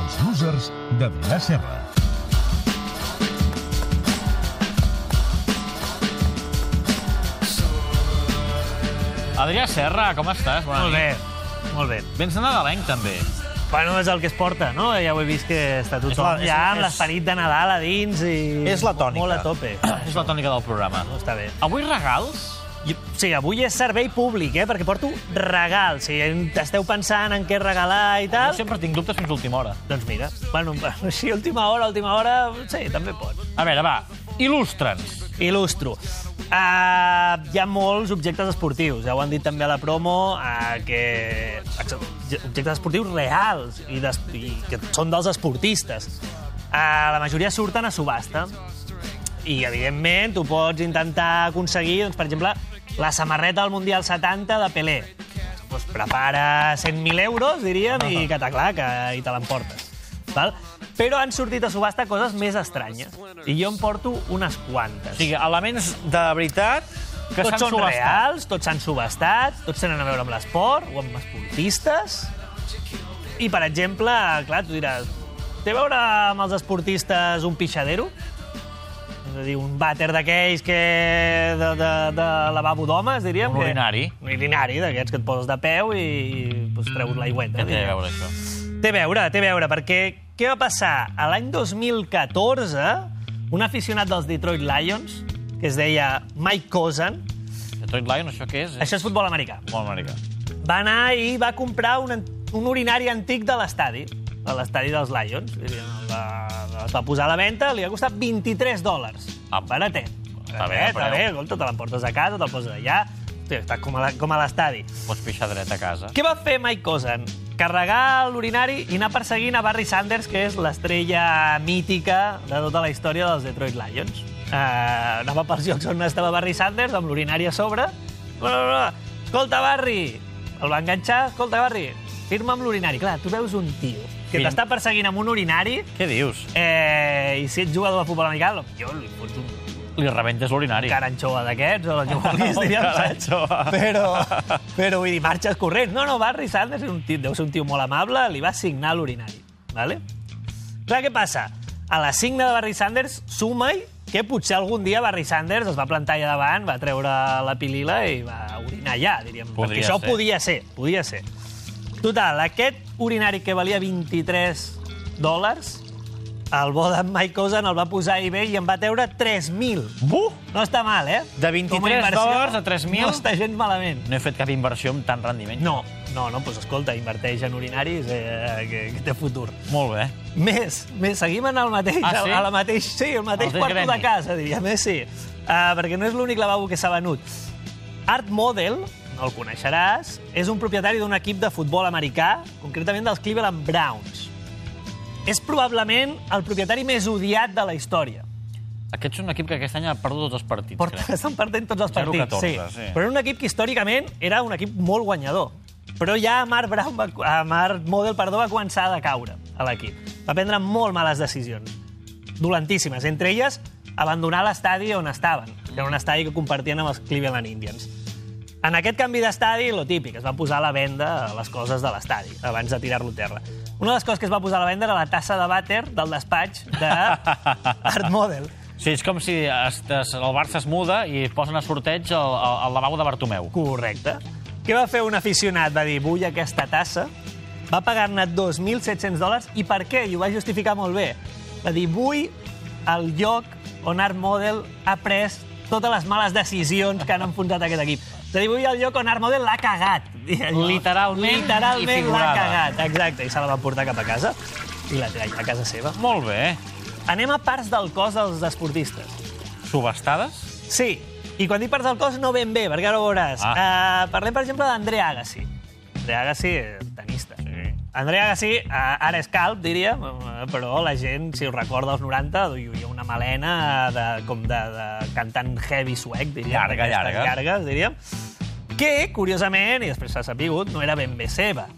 Notícies d'Adrià Serra. Adrià Serra, com estàs? Bona Molt nit. bé, molt bé. Vens de nadalenc, també. Bueno, és el que es porta, no? Ja ho he vist que està tothom la- és- ja amb és- l'esperit de Nadal a dins i... És la tònica. Molt a tope. És la tònica del programa. No, està bé. Avui regals? I, o sigui, avui és servei públic, eh? Perquè porto regals. Si esteu pensant en què regalar i Jo tal... sempre tinc dubtes fins a última hora. Doncs mira, bueno, si última hora, última hora, sí, també pots. A veure, va, il·lustra'ns. Il·lustro. Uh, hi ha molts objectes esportius, ja ho han dit també a la promo, uh, que ex- objectes esportius reals i, des, i que són dels esportistes. Uh, la majoria surten a subhasta i, evidentment, tu pots intentar aconseguir, doncs, per exemple, la samarreta del Mundial 70 de Pelé. Doncs prepara 100.000 euros, diríem, i que t'aclar, que i te l'emportes. Val? Però han sortit a subhasta coses més estranyes. I jo en porto unes quantes. O sigui, elements de veritat que tots s'han són subhastat. reals, tots s'han subestat, tots tenen a veure amb l'esport o amb esportistes. I, per exemple, clar, tu diràs, té a veure amb els esportistes un pixadero? És a dir, un vàter d'aquells que... De, de, de lavabo d'homes, diríem. Un que- urinari. Un urinari, d'aquests que et poses de peu i, i doncs, treus l'aigüeta. Què té a diríem. veure això? Té a veure, té a veure, perquè què va passar? A l'any 2014, un aficionat dels Detroit Lions, que es deia Mike Cozen, Detroit Lion, això què és? això és futbol americà, Molt americà. va anar i va comprar un, an- un urinari antic de l'estadi, de l'estadi dels Lions. Diríem, el Va, es va posar a la venda, li va costar 23 dòlars. Ah, Baratet. està bé, Baratet, però- Està bé, escolta, te l'emportes a casa, te'l poses allà, Hòstia, estàs com a la- com a l'estadi. Pots pixar dret a casa. Què va fer Mike Cosen? Carregar l'urinari i anar perseguint a Barry Sanders, que és l'estrella mítica de tota la història dels Detroit Lions. Uh, anava pels llocs on estava Barry Sanders, amb l'urinari a sobre. Bla, bla, bla. Escolta, Barry! El va enganxar. Escolta, Barry, firma amb l'urinari. Clar, tu veus un tio que Fir- t'està perseguint amb un urinari Què dius? eh, i si ets jugador de futbol americà, jo li fots un Li rebentes l'urinari. caranxoa d'aquests, o el que vulguis, diríem, saps? Però, però vull dir, marxes corrents. No, no, Barry Sanders és un tio, deu ser un tio molt amable, li va signar l'urinari. Vale? Clar, què passa? A la signa de Barry Sanders suma-hi que potser algun dia Barry Sanders es va plantar allà davant, va treure la pilila i va orinar allà, diríem. Podria perquè això ser. podia ser, podia ser. Total, aquest urinari que valia 23 dòlars, el bo d'en Mike Cousin el va posar a eBay i en va treure 3.000. Buh! No està mal, eh? De 23 Com a inversió, dòlars a 3.000? No està gens malament. No he fet cap inversió amb tant rendiment. No, no, no, doncs escolta, inverteix en urinaris, eh, que, que té futur. Molt bé. Més, més, seguim en el mateix, Ah, sí? a la mateix, sí, el mateix Els de quarto gremi. de casa, diria, més sí. Uh, perquè no és l'únic lavabo que s'ha venut. Art Model, no el coneixeràs, és un propietari d'un equip de futbol americà, concretament dels Cleveland Browns. És probablement el propietari més odiat de la història. Aquest és un equip que aquest any ha perdut tots els partits, Porta, crec. estan perdent tots els partits, 0-14, sí. Però era un equip que històricament era un equip molt guanyador. Però ja Mark, Brown va, a Mark Model perdó, va començar a decaure a l'equip. Va prendre molt males decisions, dolentíssimes. Entre elles, abandonar l'estadi on estaven, que era un estadi que compartien amb els Cleveland Indians. En aquest canvi d'estadi, lo típic, es van posar a la venda les coses de l'estadi, abans de tirar-lo a terra. Una de les coses que es va posar a la venda era la tassa de vàter del despatx d'Art Model. Sí, és com si estes, el Barça es muda i posen a sorteig el, el, el lavabo de Bartomeu. Correcte. Què va fer un aficionat? Va dir, vull aquesta tassa. Va pagar-ne 2.700 dòlars. I per què? I ho va justificar molt bé. Va dir, vull el lloc on Art Model ha pres totes les males decisions que han enfonsat aquest equip. És a dir, vull el lloc on Art Model l'ha cagat. Literalment i Literalment l'ha figurada. cagat, exacte. I se la va portar cap a casa i la traia a casa seva. Molt bé. eh? Anem a parts del cos dels esportistes. Subestades? Sí, i quan dic parts del cos no ben bé, perquè ara ho veuràs. Ah. Ah. Uh, parlem, per exemple, d'André Agassi. André Agassi, eh, tenista. Sí. André Agassi, uh, ara és calb, diria, eh, però la gent, si ho recorda, als 90, duia una melena de, com de, de cantant heavy suec, diria. Llarga, llarga. Llargues, diríem. Que, curiosament, i després s'ha sapigut, no era ben bé seva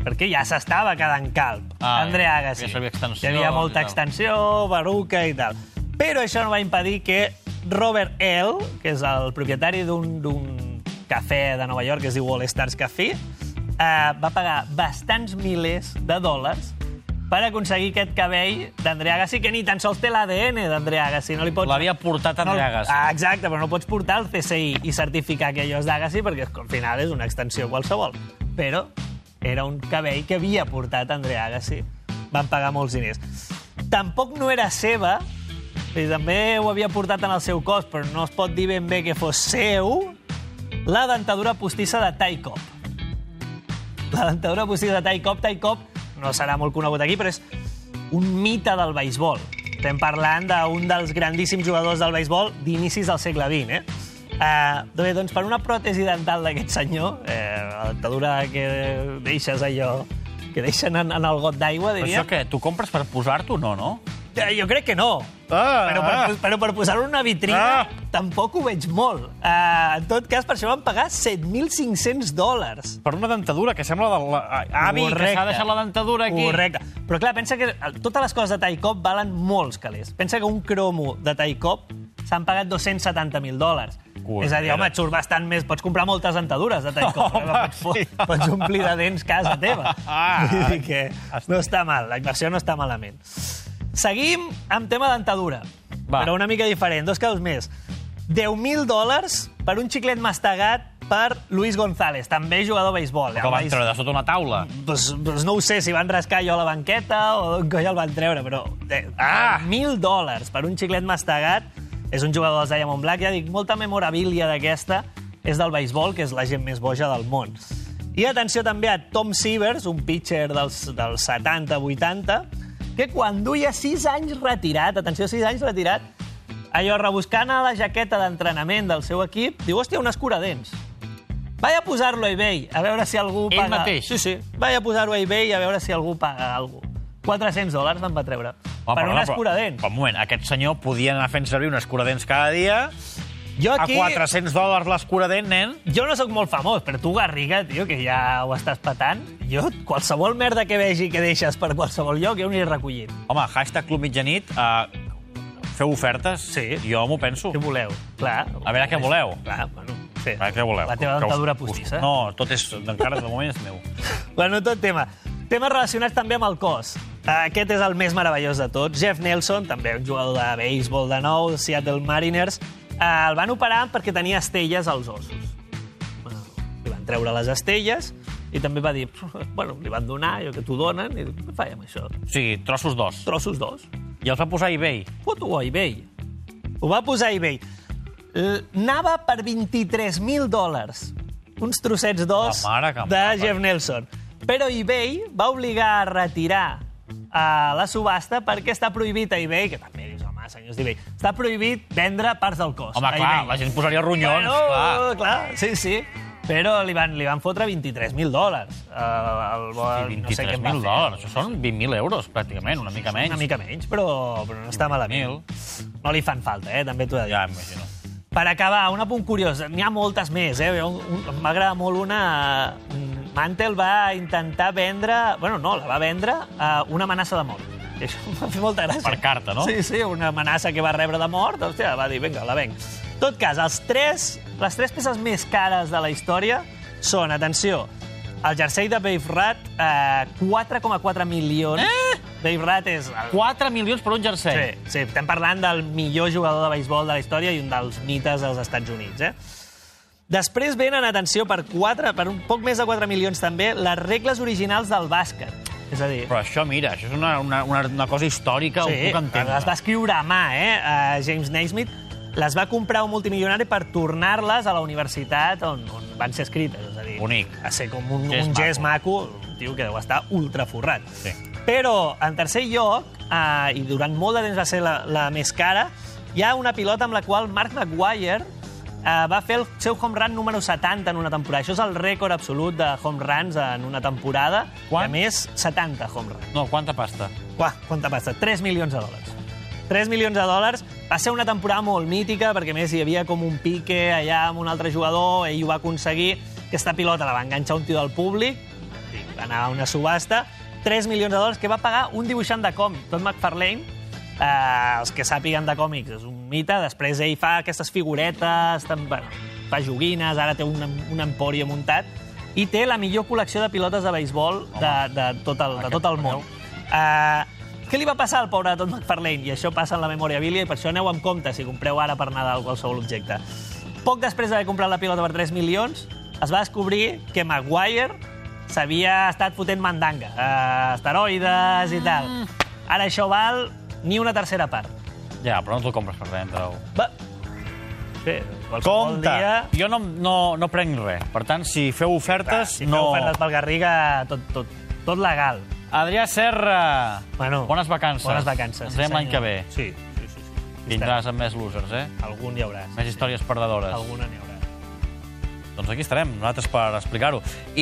perquè ja s'estava quedant calb. Ah, André ja Agassi. sabia extensió, Hi havia i molta tal. extensió extensió, baruca i tal. Però això no va impedir que Robert L., que és el propietari d'un d'un cafè de Nova York que es diu All Stars Café, eh, va pagar bastants milers de dòlars per aconseguir aquest cabell d'Andrea Agassi, que ni tan sols té l'ADN d'Andrea Agassi. No li pots... L'havia portat no, Andrea Agassi. Ah, exacte, però no pots portar el CSI i certificar que allò és d'Agassi perquè al final és una extensió qualsevol. Però era un cabell que havia portat Andrea Agassi. Van pagar molts diners. Tampoc no era seva, i també ho havia portat en el seu cos, però no es pot dir ben bé que fos seu, la dentadura postissa de Ty Cobb. La dentadura postissa de Ty Cobb, Ty Cobb no serà molt conegut aquí, però és un mite del beisbol. Estem parlant d'un dels grandíssims jugadors del beisbol d'inicis del segle XX, eh? Uh, bé, doncs per una pròtesi dental d'aquest senyor, eh, la dentadura que deixes allò, que deixen en, en el got d'aigua, Però diria... això què? Tu compres per posar-t'ho? No, no? Eh, Jo crec que no. Ah, però, per, ah. però per posar-ho en una vitrina Ah. tampoc ho veig molt. Uh, en tot cas, per això van pagar 7.500 dòlars. Per una dentadura que sembla de la... Avi, que s'ha Correcte. deixat la dentadura aquí. Correcte. Però clar, pensa que el- totes les coses de Taikop valen molts calés. Pensa que un cromo de Taikop s'han pagat 270.000 dòlars. Correcte. És a dir, home, et surt bastant més. Pots comprar moltes dentadures de Taikop. Home, sí. pots, pots omplir de dents casa teva. Ah. Vull dir que no està mal, la inversió no està malament. Seguim amb tema dentadura, Va. però una mica diferent, dos casos més. 10.000 dòlars per un xiclet mastegat per Luis González, també jugador de béisbol. Que van Luis- treure de sota una taula. doncs, doncs no ho sé si van rascar allò a la banqueta o d'on coi el van treure, però... Eh, ah! Mil dòlars per un xiclet mastegat. És un jugador dels Diamond Black. Ja dic, molta memorabilia d'aquesta és del béisbol, que és la gent més boja del món. I atenció també a Tom Severs, un pitcher dels, dels 70-80, que quan duia 6 anys retirat, atenció, 6 anys retirat, allò rebuscant a la jaqueta d'entrenament del seu equip, diu, hòstia, un escuradents. Vaig a posar-lo a eBay, a veure si algú Ell paga... mateix? Sí, sí. Vaig a posar-ho a eBay a veure si algú paga alguna cosa. 400 dòlars em va treure. Home, per un perdona, escuradents. Però, un moment, aquest senyor podia anar fent servir un escuradents cada dia, Jo a aquí... 400 dòlars l'escuradent, nen. Jo no sóc molt famós, però tu, Garriga, tio, que ja ho estàs patant, jo qualsevol merda que vegi que deixes per qualsevol lloc, jo n'hi he recollit. Home, hashtag Club Mitjanit, eh, feu ofertes? Sí. Jo m'ho penso. Què voleu? Clar. A veure què voleu. Clar, bueno, sí. Ah, què voleu? La teva Que us- dentadura eh? us- postissa. No, tot és, encara de moment és meu. Bueno, tot tema. Temes relacionats també amb el cos. Aquest és el més meravellós de tots. Jeff Nelson, també un jugador de béisbol de nou, Seattle Mariners, eh, el van operar perquè tenia estelles als ossos. Bueno, li van treure les estelles i també va dir, bueno, li van donar allò que t'ho donen, i dic, què faig amb això? O sigui, trossos d'os. Trossos d'os. I els va posar a eBay. Fot-ho a eBay. Ho va posar a eBay. L- Anava per 23.000 dòlars. Uns trossets d'os La mare que em de va, Jeff Nelson. Però eBay va obligar a retirar a la subhasta perquè està prohibit a eBay, que també dius, home, senyors d'eBay, està prohibit vendre parts del cos. Home, a clar, eBay. la gent posaria ronyons, Bueno, clar. clar, sí, sí. Però li van, li van fotre 23.000 dòlars. Uh, el, el, no sé què en 23.000 va fer. dòlars. Això són 20.000 euros, pràcticament, una mica menys. Una mica menys, però, però no està malament. No li fan falta, eh? també t'ho he de dir. Ja, m'imagino. Per acabar, un apunt curiós. N'hi ha moltes més, eh? Un- un- M'agrada molt una... mm, Mantel va intentar vendre... Bueno, no, la va vendre a una amenaça de mort. I això em va fer molta gràcia. Per carta, no? Sí, sí, una amenaça que va rebre de mort. Hòstia, va dir, vinga, la venc. En tot cas, els tres, les tres peces més cares de la història són, atenció, el jersei de Babe Rat, eh, 4,4 milions. Eh? Babe Rat és el 4 milions per un jersei. Sí, sí, estem parlant del millor jugador de béisbol de la història i un dels mites dels Estats Units, eh? Després venen, atenció, per, 4, per un poc més de 4 milions també, les regles originals del bàsquet. És a dir, Però això, mira, això és una, una, una, una cosa històrica, ho puc entendre. les va escriure a mà, eh? A James Naismith les va comprar un multimilionari per tornar-les a la universitat on, on van ser escrites. És a dir, Bonic. A ser com un, Gest un gest maco, un tio que deu estar ultra forrat. Sí. Però, en tercer lloc, eh, i durant molt de temps va ser la, la més cara, hi ha una pilota amb la qual Mark McGuire eh, va fer el seu home run número 70 en una temporada. Això és el rècord absolut de home runs en una temporada. Quant? I, A més, 70 home runs. No, quanta pasta? Uah, quanta pasta? 3 milions de dòlars. 3 milions de dòlars. Va ser una temporada molt mítica, perquè a més hi havia com un pique allà amb un altre jugador, ell ho va aconseguir. Aquesta pilota la va enganxar un tio del públic, i va anar a una subhasta. 3 milions de dòlars que va pagar un dibuixant de còmic, Todd McFarlane, eh, els que sàpiguen de còmics, és un mite. Després ell fa aquestes figuretes, tan, bueno, fa joguines, ara té un, un empori muntat, i té la millor col·lecció de pilotes de béisbol de, de, tot el, de tot el món. Uh, què li va passar al pobre Todd McFarlane? I això passa en la memòria Bíblia i per això aneu amb compte si compreu ara per Nadal qualsevol objecte. Poc després d'haver comprat la pilota per 3 milions, es va descobrir que Maguire s'havia estat fotent mandanga, uh, esteroides i tal. Mm. Ara això val ni una tercera part. Ja, però no te'l compres per 30 o... Va. Bé, qualsevol Compte! dia... Jo no, no, no prenc res. Per tant, si feu Clar, ofertes, si no... feu ofertes pel Garriga, tot, tot, tot legal. Adrià Serra, Bueno, bones vacances. Bones vacances. Ens veiem sí, l'any que senyor. ve. Sí, sí, sí. sí. Vindràs amb més losers, eh? Algun hi haurà. sí, Més sí. històries perdedores. Alguna n'hi haurà. Doncs aquí estarem, nosaltres, per explicar-ho. I